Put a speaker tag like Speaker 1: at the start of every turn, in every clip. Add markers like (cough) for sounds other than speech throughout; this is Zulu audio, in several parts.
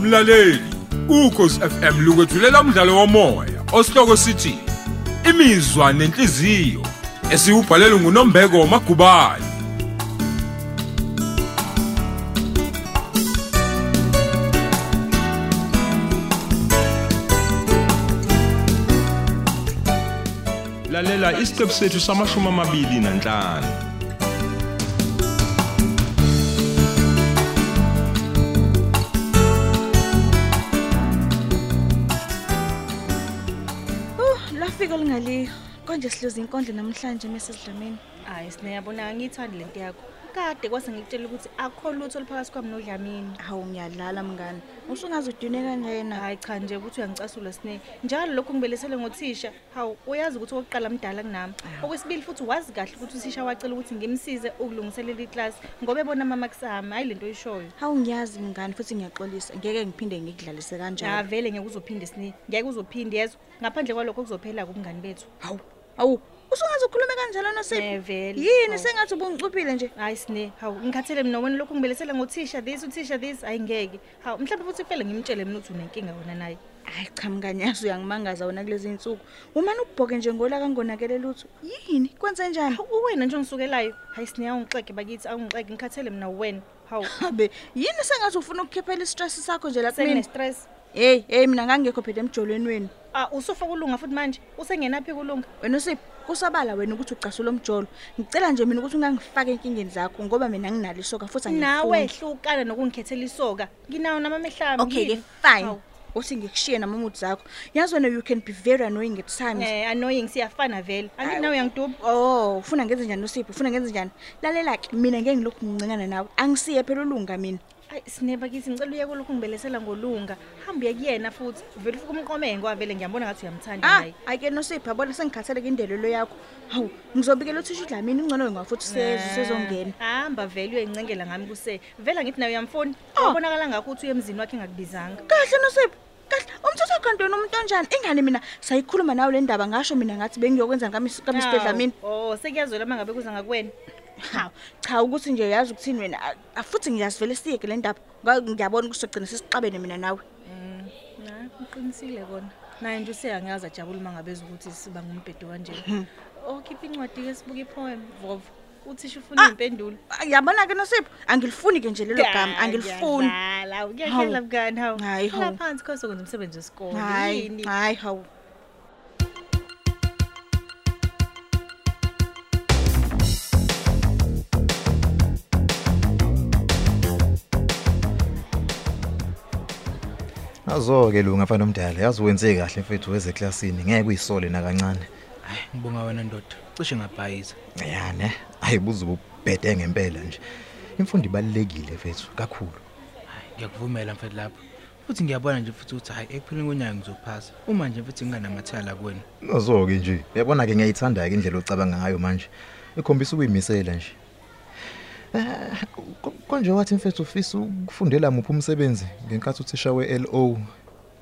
Speaker 1: mlaleli ukhosi FM lukwethulela umdlalo womoya osihloko sithi imizwa nenhliziyo esiyubhalelwe nguNombeko Magubane
Speaker 2: lalela isiqephu sethu samashumi amabili nanhlanu
Speaker 3: Uh, lafika lingaliyo. Konje siluza inkondlo namhlanje mesizidlameni.
Speaker 4: hayi sineyabona angiyithandi lento yakho kade kwase ngikutshela ukuthi akho lutho oluphakathi kwami nodlamini
Speaker 3: Hawu ngiyalala mngani. Usungaze udine kanjena.
Speaker 4: hayi cha nje ukuthi uyangicasula sine njalo lokhu ngibelethele ngothisha hawu uyazi ukuthi okokuqala mdala kunami okwesibili futhi wazi kahle ukuthi uthisha wacela ukuthi ngimsize ukulungiselela iklasi ngoba ebona amamakisami hhayi lento oyishoyo
Speaker 3: Hawu ngiyazi mngani futhi ngiyaxolisa. Ngeke ngiphinde ngikudlalise
Speaker 4: ja
Speaker 3: kanjalo.
Speaker 4: vele ngeke uzophinde sine ngeke uzophinde yezwa ngaphandle kwalokho kuzophela kubungani bethu
Speaker 3: Hawu. Hawu. Usungaze ukhulume kanjalo
Speaker 4: Eh,
Speaker 3: noSipho.
Speaker 4: vele.
Speaker 3: Yini
Speaker 4: Hawu.
Speaker 3: sengathi ubungicuphile nje.
Speaker 4: hayi sine hawu ngikhathele mina wena lokhu ngibelethele ngothisha this uthisha this hayi ngeke hawu mhlawumbe futhi kumele ngimtshele mina ukuthi unenkinga wona naye
Speaker 3: Hayi cha mngani yazi uyangimangaza wona kulezi insuku. Umane ubhoke nje ngola kangonakele lutho. Yini? Kwenze njani?
Speaker 4: Hawu, uwena nje ongisukelayo hayi sine awungixeke bakithi awungixeke ngikhathele mina uwena hawu
Speaker 3: Abe yini sengathi ufuna ukukhiphela i-stress sakho nje lapha mina?
Speaker 4: sekunestress
Speaker 3: Hey, hey mina ngangekho phela emjolweni wenu.
Speaker 4: ah usofa kulunga futhi manje usengenaphi kulunga
Speaker 3: wena usipho kusabala wena ukuthi ucasula umjolo ngicela nje mina ukuthi ungangifake enkingeni zakho ngoba mina nginalo isoka futhi
Speaker 4: nawe
Speaker 3: angifuni
Speaker 4: hlukana nokungikhethela isoka nginawo namamehlami
Speaker 3: okay-ke
Speaker 4: yini?
Speaker 3: fine
Speaker 4: Hawu,
Speaker 3: uthi ngikushiye namamuthi zakho yazi wena you can be very annoying at times
Speaker 4: eh annoying siyafana vele angithi
Speaker 3: Hawu.
Speaker 4: nawe uyangiduba
Speaker 3: oh ufuna ngenze njani usipho ufuna ngenze njani lalela-ke mina ngeke ngilokhu ngincingana nawe angisiye phela ulunga mina
Speaker 4: hayi sineba kithi ngicela uye kulokhu ngibelethela ngolunga hambe kuyena futhi vele ufike umqomenge wavele ngiyambona ngathi uyamthanda
Speaker 3: ah
Speaker 4: naye
Speaker 3: ake nosipho yabona sengikhathaleke indelelo yakho hawu ngizobikela uthisha udlamini ungcono ngwa futhi sezo sezongena
Speaker 4: Ah, hamba vele uyoyincengela ngami kuse vele angithi nawe uyamfoni
Speaker 3: Oh.
Speaker 4: ubonakala ngakho uthi uye emzini wakhe engakubizanga
Speaker 3: kahle nosipho kahle umthetho kantoni umuntu onjani ingane mina sayikhuluma nawo le ndaba ngasho mina ngathi bengiyokwenza kamisibhedlamini
Speaker 4: Hawu, oh sekuyazwela uma ngabe kuza ngakuwena
Speaker 3: hawu cha ukuthi nje yazi ukuthini wena a- a- futhi ngiyazivele siyeke le ndaba Nga- ngiyabona ukuthi sogcina sesixabene mina nawe
Speaker 4: uqinisile kona naye nje useyangiyazi ajabula uma ngabe ukuthi siba ngumbhedo
Speaker 3: (laughs) Hmm.
Speaker 4: kanjena okhipha incwadi-ke sibuke ipoem vovo uthisha ufuna
Speaker 3: Ah.
Speaker 4: impendulo
Speaker 3: yabona-ke nosipho angilifuni-ke nje lelo gama angilifuni
Speaker 4: kuyakhela mkani hawu
Speaker 3: Hhayi, hawu.
Speaker 4: Hlala phansi kho sokwenza umsebenzi wesikole
Speaker 3: hayi
Speaker 4: yini
Speaker 3: hayi hawu
Speaker 5: azo-ke lunga fana omdala yazi wenze kahle mfethu weze eklasini ngeke uyisole nakancane
Speaker 6: hayi ngibonga wena ndoda cishe ngabhayiza
Speaker 5: ya ne ayi buze ububhede ngempela nje imfundo ibalulekile mfethu kakhulu
Speaker 6: hayi ngiyakuvumela mfethu lapho futhi ngiyabona nje futhi ukuthi hayi ekupheleni konyaka ngizophasa uma nje futhi nginganamathela kwenu
Speaker 5: azo-ke nje uyabona-ke ngiyayithanda-ke indlela ocabanga ngayo manje ikhombisa ukuyimisela nje Eh, ko- konje wathi mfethu ufisa ukufundela muphi umsebenzi ngenkathi uthisha we-lo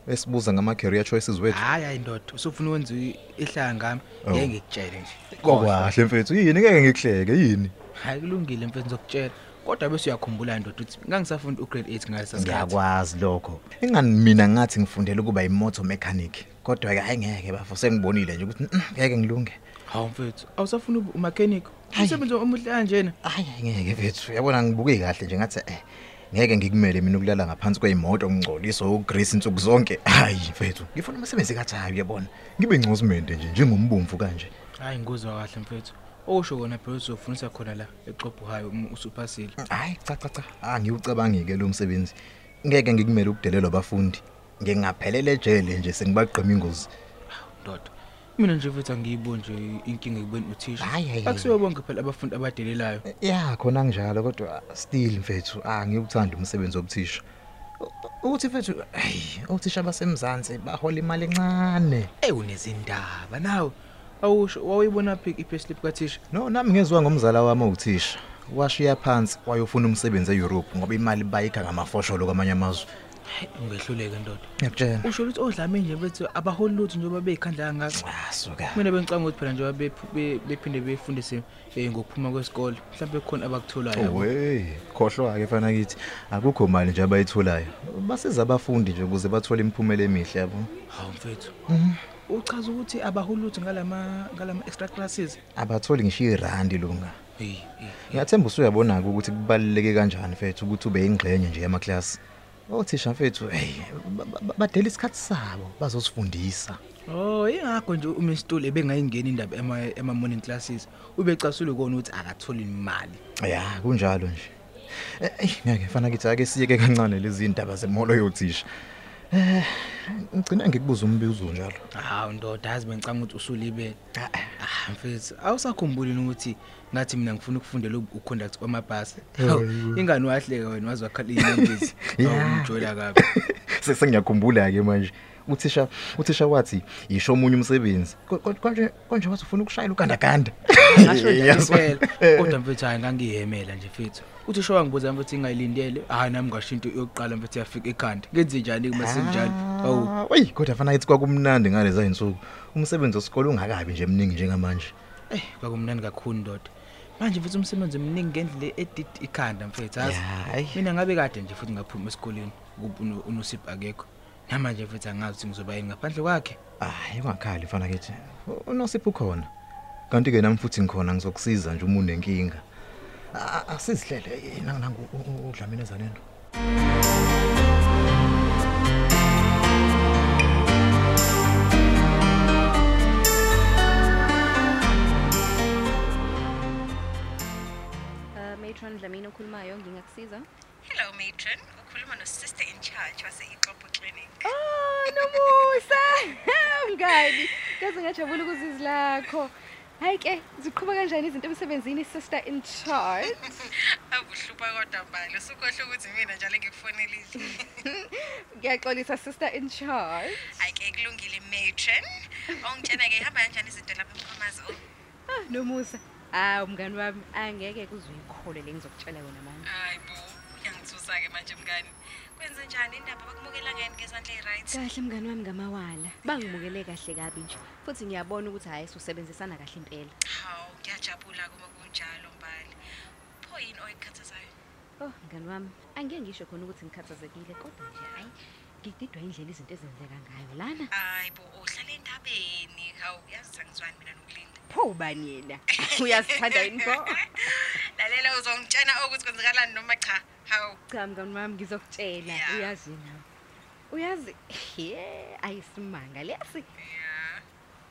Speaker 5: esibuza ngama-career choices wethu
Speaker 6: hhayi hayi ndoda usufuna ukwenza i- ihlaya ngami
Speaker 5: Oh.
Speaker 6: ngeke ngikutshele nje
Speaker 5: kokwahle mfethu yini ngeke ngikuhleke yini
Speaker 6: hayi kulungile mfethu ngizokutshela kodwa bese uyakhumbula ndoda ukuthi ngangisafunda ugrade 8 ngalesa sikhathi
Speaker 5: ngiyakwazi lokho ingani mina ngathi ngifundele ukuba yimoto mechanic kodwa-ke hayi ngeke bafo sengibonile nje ukuthi "Mm, ngeke ngilunge
Speaker 6: hawu mfethu awusafuna ube umakhenikho
Speaker 5: Hayi.
Speaker 6: umsebenzi omuhle kanjena
Speaker 5: hayi hayi, ngeke fethu yabona ngibuke kahle nje ngathi eh ngeke ngikumele mina ukulala ngaphansi kwey'moto ngingcoliso ugrace insuku zonke hayi mfethu ngifuna umsebenzi kathayo uyabona ngibe ingcozimende nje njengombumvu kanje
Speaker 6: hayi ngikuzwa kahle mfethu okusho kona phela ukuthi uzofunisa khona la exobhuhayo uma usuphasile
Speaker 5: Mm, hayi cha cha cha angiwucabangi-ke lo msebenzi ngeke ngikumele ukudelelwa abafundi ngingaphelele ejele nje sengibagqima ingozi
Speaker 6: ndoda mina nje futhi angiyiboni nje inkinga ekubeni uthisha
Speaker 5: Hayi, hayi, hayi.
Speaker 6: akusibo bonke phela abafundi abadelelayo
Speaker 5: ya khona nginjalo kodwa still mfethu angiwuthanda umsebenzi wobuthisha U- ukuthi mfethu ayi othisha basemzansi bahola imali encane
Speaker 6: eyi unezindaba nawe awusho wawuyibona phi i-payslip kathisha
Speaker 5: no nami ngezwa ngomzala wami owuthisha washiya phansi wayofuna umsebenzi e-europe ngoba imali bayikha ngamafosholo kwamanye amazwe
Speaker 6: hayi ungehluleke ndoda
Speaker 5: ngiyakutshela
Speaker 6: usho ukuthi odlame nje mfethu abaholi lutho njengoba bey'khandla kangaka
Speaker 5: asuka
Speaker 6: mina bengicabanga ukuthi phela njengoba bephu- be- bephinde befundise eh, ngokuphuma kwesikole mhlawumbe kukhona abakutholayo yabo.
Speaker 5: owe khohlwa-ke fanakithi akukho mali nje abayitholayo basiza abafundi nje ukuze bathole imiphumela emihle yabo
Speaker 6: hawu mfethu uchaza ukuthi abaholi lutho ngalama ngalama extra classes
Speaker 5: abatholi ngisho irandi lunga
Speaker 6: eyi eyi
Speaker 5: ngiyathemba usuyabona-ke ukuthi kubaluleke kanjani fethu ukuthi ube ingxenye nje yamaklasi othisha mfethu eyi ba- ba- ba- badela isikhathi sabo bazosifundisa
Speaker 6: Oh, ingakho nje uMr Stule bengayingeni indaba ema ema morning classes. Ubecasule kona ukuthi akatholi imali.
Speaker 5: ya kunjalo nje Eh, eyi, ngeke fanakithi ake siyeke kancane lezi ndaba zemolo yothisha um ngigcina ngikubuza umbuzo njalo (laughs)
Speaker 6: Hawu ndoda, yazi bengicanga ukuthi usulibele.
Speaker 5: Ah, eh.
Speaker 6: Ah, mfethu, awusakhumbuli yini ukuthi ngathi mina ngifuna ukufundela ubu- uconduct kwamabhasi. Ingani wahleka wena wazi wakhala inyembezi.
Speaker 5: Ya.
Speaker 6: Awumjola kabi.
Speaker 5: Se- sengiyakhumbula-ke manje uthisha uthisha wathi yisho omunye umsebenzi Ko- ko- konje konje wathi ufuna ukushayela ugandaganda
Speaker 6: Ngasho nje
Speaker 5: (laughs) Yazi-
Speaker 6: impela. Kodwa mfethu hayi ngangihemela nje mfethu. Uthi showa ngibuza mfethu ingayilindele. Hayi nami ngasho into yokuqala mfethu yafika ekhanda. Ngenze njani kuma senjani? Awu.
Speaker 5: Ah, weyi kodwa fana ithi kwakumnandi ngalezi ay'nsuku umsebenzi wesikole ungakabi nje mningi njengamanje
Speaker 6: Eh, kwakumnandi kakhulu ndoda. Manje futhi umsebenzi omningi ngendlela edid ikhanda mfethu yazi.
Speaker 5: Ya, ayi.
Speaker 6: Mina ngabe kade nje futhi ngaphuma esikoleni kuba unosip akekho. Namanje futhi angazi ukuthi ngizoba yini ngaphandle kwakhe.
Speaker 5: hayi ungakhali fana kithi unosipho ukhona kanti-ke nami futhi ngikhona ngizokusiza nje uma unenkinga A- a- asizihlele nangu udlamini ezaneni
Speaker 7: Uh, matron Dlamini okhulumayo ngingakusiza
Speaker 8: Hello matron, ukhuluma no sister in charge wase iXopo clinic.
Speaker 7: oh nomusa (laughs) mngani kaze ngajabula ukuzizi lakho hayi ke ziqhuba kanjani izinto emsebenzini sister in charge
Speaker 8: Abuhlupa kodwa mbali, usukohle ukuthi mina njalo ngikufonele (laughs) idli.
Speaker 7: ngiyaxolisa sister in charge
Speaker 8: Ayike kulungile matron. Ongitshena ke ihamba kanjani izinto lapha eMkhwamazi?
Speaker 7: ah nomusa hawu mngani wami angeke kuzuyikhole le ngizokutshela yona manje
Speaker 8: Hayi bo, uyangithusa ke manje mngani. Kwenze njani indaba bakumukela ngani ngezandla eziright?
Speaker 7: kahle mngani wami ngamawala bangimukele kahle kabi nje futhi ngiyabona ukuthi hhayi susebenzisana kahle impela
Speaker 8: Hawu, ngiyajabula kuma kunjalo mbali. Pho yini oyikhathazayo?
Speaker 7: Oh mngani wami, angeke ngisho khona ukuthi ngikhathazekile kodwa nje hayi ngididwa indlela izinto ezenzeka ngayo lana.
Speaker 8: Hayi bo, uhlala endabeni. Hawu, uyazi sangizwani mina nokulinda.
Speaker 7: Pho ubani yena? (laughs) Uyazithanda yini pho?
Speaker 8: Lalela uzongitshena ukuthi kwenzakalani noma cha. Hawu.
Speaker 7: Cha mngani wami ngizokutshela,
Speaker 8: Yeah.
Speaker 7: uyazi nawe. Uyazi, he, ayisimanga lesi.
Speaker 8: Yeah.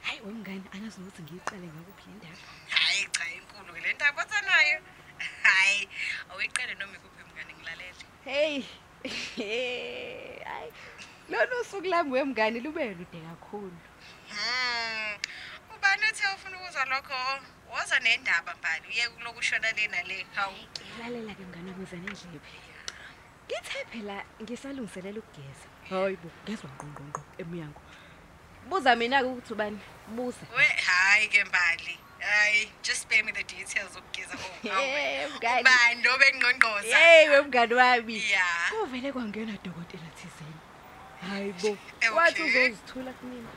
Speaker 7: Hayi wemngani, angazi ukuthi ngiyiqale ngakuphi le ndaba.
Speaker 8: hayi cha inkulu ke le ndaba othanayo hayi awuyiqele noma ikuphi mngane ngilalele
Speaker 7: Hey. (laughs) Hayi. Lona usuku lami wemngani lube lude kakhulu.
Speaker 8: Hmm, ubani othe ufuna ukuzwa lokho woza nendaba mbali uye kulokushona le nale hawu
Speaker 7: Lalela ke mngani wami uzane ndlebe. Ngithe phela ngisalungiselela ukugeza. Hayi bo, ngezwa ngqongqongqo emnyango. Buza mina ke ukuthi ubani? Buza.
Speaker 8: we hayi ke mbali hayi just spare me the details okugeza
Speaker 7: Eh, mngani.
Speaker 8: ubani obengqongqoza
Speaker 7: Hey wemngani wami.
Speaker 8: Yeah.
Speaker 7: Kuvele kwangena dokotela thizeni. Hayi bo.
Speaker 8: Eh,
Speaker 7: Wathi
Speaker 8: okay.
Speaker 7: uzozithula kumina.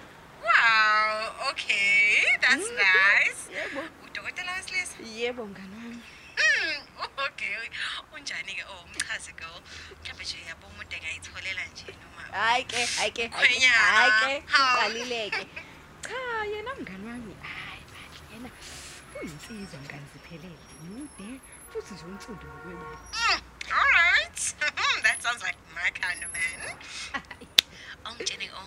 Speaker 8: wow okay that's nice
Speaker 7: Mm-hmm. Yebo.
Speaker 8: udokotela wesilisa
Speaker 7: Yebo mngani wami.
Speaker 8: Hmm, okay unjani ke oh mchaze girl mhlawumbe nje yabo umuntu engayitholela nje noma
Speaker 7: Hayi ke, hayi ke. hayi ke,
Speaker 8: Khwenyana.
Speaker 7: Hayi ke,
Speaker 8: Hawu.
Speaker 7: qalileke. Cha, yena mngani wami. Hayi bandla yena. Uyinsizwa mngani siphelele. Mude futhi nje unsundu ngokwebala.
Speaker 8: Hmm, All right. Hmm, that sounds like my kind of man. Ongitshene o.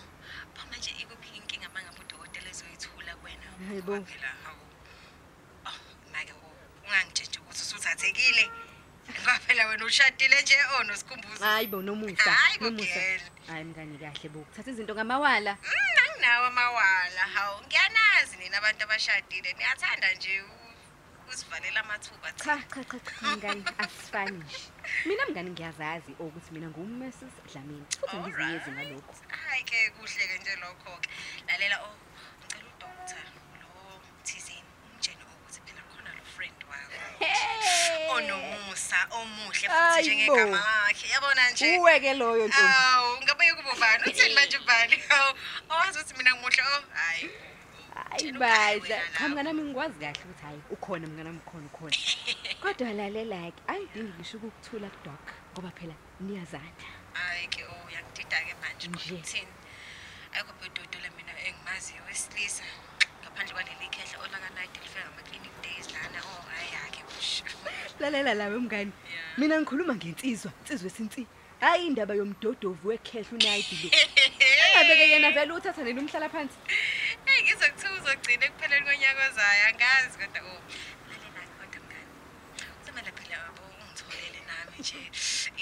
Speaker 8: Pho manje ikuphi inkinga mangabe udokotela ezoyithula kuwena?
Speaker 7: Yebo.
Speaker 8: Ngoba Phela hawu. Oh, make ho. Ungangitshentshe ukuthi usuthathekile. Ngoba phela wena ushadile nje onosikhumbuzo.
Speaker 7: Hayi bo nomusa.
Speaker 8: Hayi bo,
Speaker 7: nomusa.
Speaker 8: girl.
Speaker 7: Hayi mngani kahle bo. Thatha izinto ngamawala.
Speaker 8: Mm, anginawo amawala. Hawu, ngiyanazi nina abantu abashadile. Niyathanda nje u- usivalela amathuba.
Speaker 7: cha cha cha cha mngani asifani nje mina mngani ngiyazazi ukuthi mina ngumrs dlamini futhi ngiziyezi ngalokho
Speaker 8: hayi ke kuhle ke nje lokho ke lalela o ngicela udokotela lo thizeni umtshene ukuthi phela khona lo friend wakho onomusa omuhle
Speaker 7: Ayi
Speaker 8: futhi njengegama lakhe yabona nje
Speaker 7: uweke loyo ntombi
Speaker 8: awu ngabe yokuba ubani utheni manje ubani awu awazi ukuthi mina ngimuhle oh, o hayi
Speaker 7: hayi
Speaker 8: Tshela
Speaker 7: bandla
Speaker 8: ukahle wena
Speaker 7: cha
Speaker 8: lapho.
Speaker 7: mnganami ngikwazi kahle ukuthi hayi ukhona mnganami ukhona ukhona kodwa lalela-ke ayidingi ngisho ukukuthula kudok ngoba phela niyazana
Speaker 8: hayi ke o yakudida-ke manje
Speaker 7: Nje.
Speaker 8: uthini ayikho bedodole mina engimaziyo wesilisa ngaphandle kwaleli khehla olanganayide lifika ngama-clinic days lana oh, o hayi yakhe busha
Speaker 7: lalela lawe mngani
Speaker 8: Yeah.
Speaker 7: mina ngikhuluma ngensizwa insizwa esinsi hayi indaba yomdodovu wekhehla unayidi lo engabeke yena vele uthatha nini umhlala phansi
Speaker 8: (laughs) Hey ngize kuthiwa uzogcina ekupheleni konyaka ozayo angazi kodwa o lalela kodwa mngani uzomele phela yabo ungitholele nami nje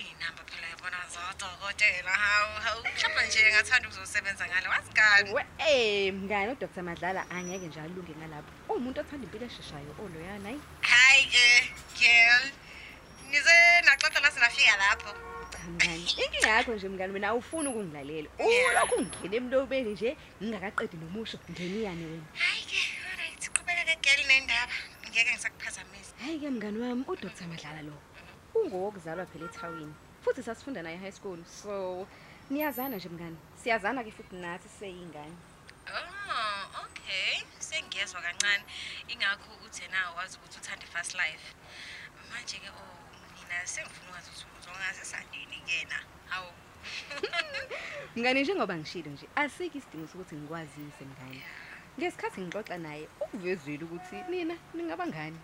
Speaker 8: iy'namba phela yabona zodokotela hawu hawu mhlawumbe nje ngathanda ukuzosebenza ngalo wazi ngani
Speaker 7: we eh, mngani udr madlala angeke nje alunge ngalapho uwumuntu othanda impilo esheshayo oloyana hayi
Speaker 8: hayi ke girl nize naxoxa lase nafika lapho
Speaker 7: cha mngani inkinga yakho nje mngani mina awufuni ukungilalela
Speaker 8: Yeah.
Speaker 7: ulokhu ungena emlobeni nje ngingakaqedi nomusho ngeniyane wena
Speaker 8: hayi ke alright qhubekeke girl nendaba ngeke ngisakuphazamisa
Speaker 7: hhayi-ke mngani wami udr madlala lo ungowokuzalwa phela ethawini futhi sasifunda naye high school so niyazana nje mngani siyazana-ke futhi nathi seyingane
Speaker 8: oh okay sengiyezwa kancane ingakho uthe nawe wazi ukuthi uthanda i-fast life manje-ke o mina sengifuna ukwazi ukuthi uzongase sandini kena
Speaker 7: (laughs)
Speaker 8: hawu
Speaker 7: mngani njengoba ngishilo nje asikho isidingo sokuthi ngikwazise mngani ngesikhathi ngixoxa naye ukuvezile ukuthi nina ningabangani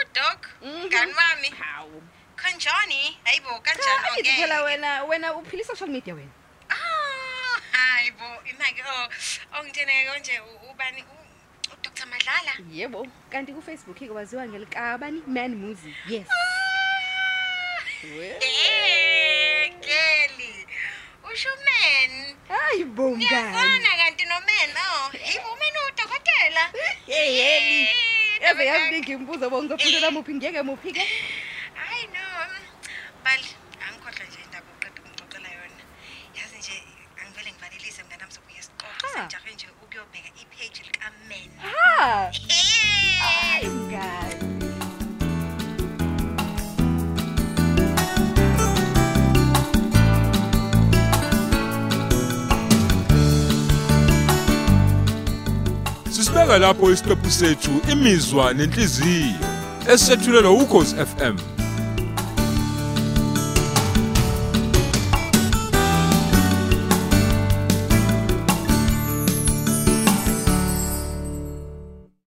Speaker 8: udok
Speaker 7: Mhm.
Speaker 8: mngani wami
Speaker 7: hawu
Speaker 8: khonjani hayibo kanjani
Speaker 7: hayi
Speaker 8: ongeke?
Speaker 7: phela wena wena uphila i-social media wena
Speaker 8: Ah, hayi bo imake o ongitheneke konje u- ubani u- udr madlala
Speaker 7: yebo kanti kufacebook-ke waziwa ngelikabani man muzi yes We-
Speaker 8: Eh, geli ushumen
Speaker 7: hayi bo mngani
Speaker 8: niyazana kanti nomen o yibo umen udokotela
Speaker 7: yeyeni eze
Speaker 8: Dabekani.
Speaker 7: yaziningi imibuzo bo ngizophendula muphi ngeke muphi-ke
Speaker 8: hayi no bali angikhohlwa nje indaba uqeda ukungixoxela yona yazi nje angivele ngivalelise mngane wami sokuye siqoqo
Speaker 7: Ah.
Speaker 8: senjahe nje ukuyobheka ipheji likamen
Speaker 7: ha
Speaker 8: hey.
Speaker 7: hayi mngani
Speaker 1: Sisibeka lapho isiqephu sethu imizwa nenhliziyo esethulelwa ukhozi FM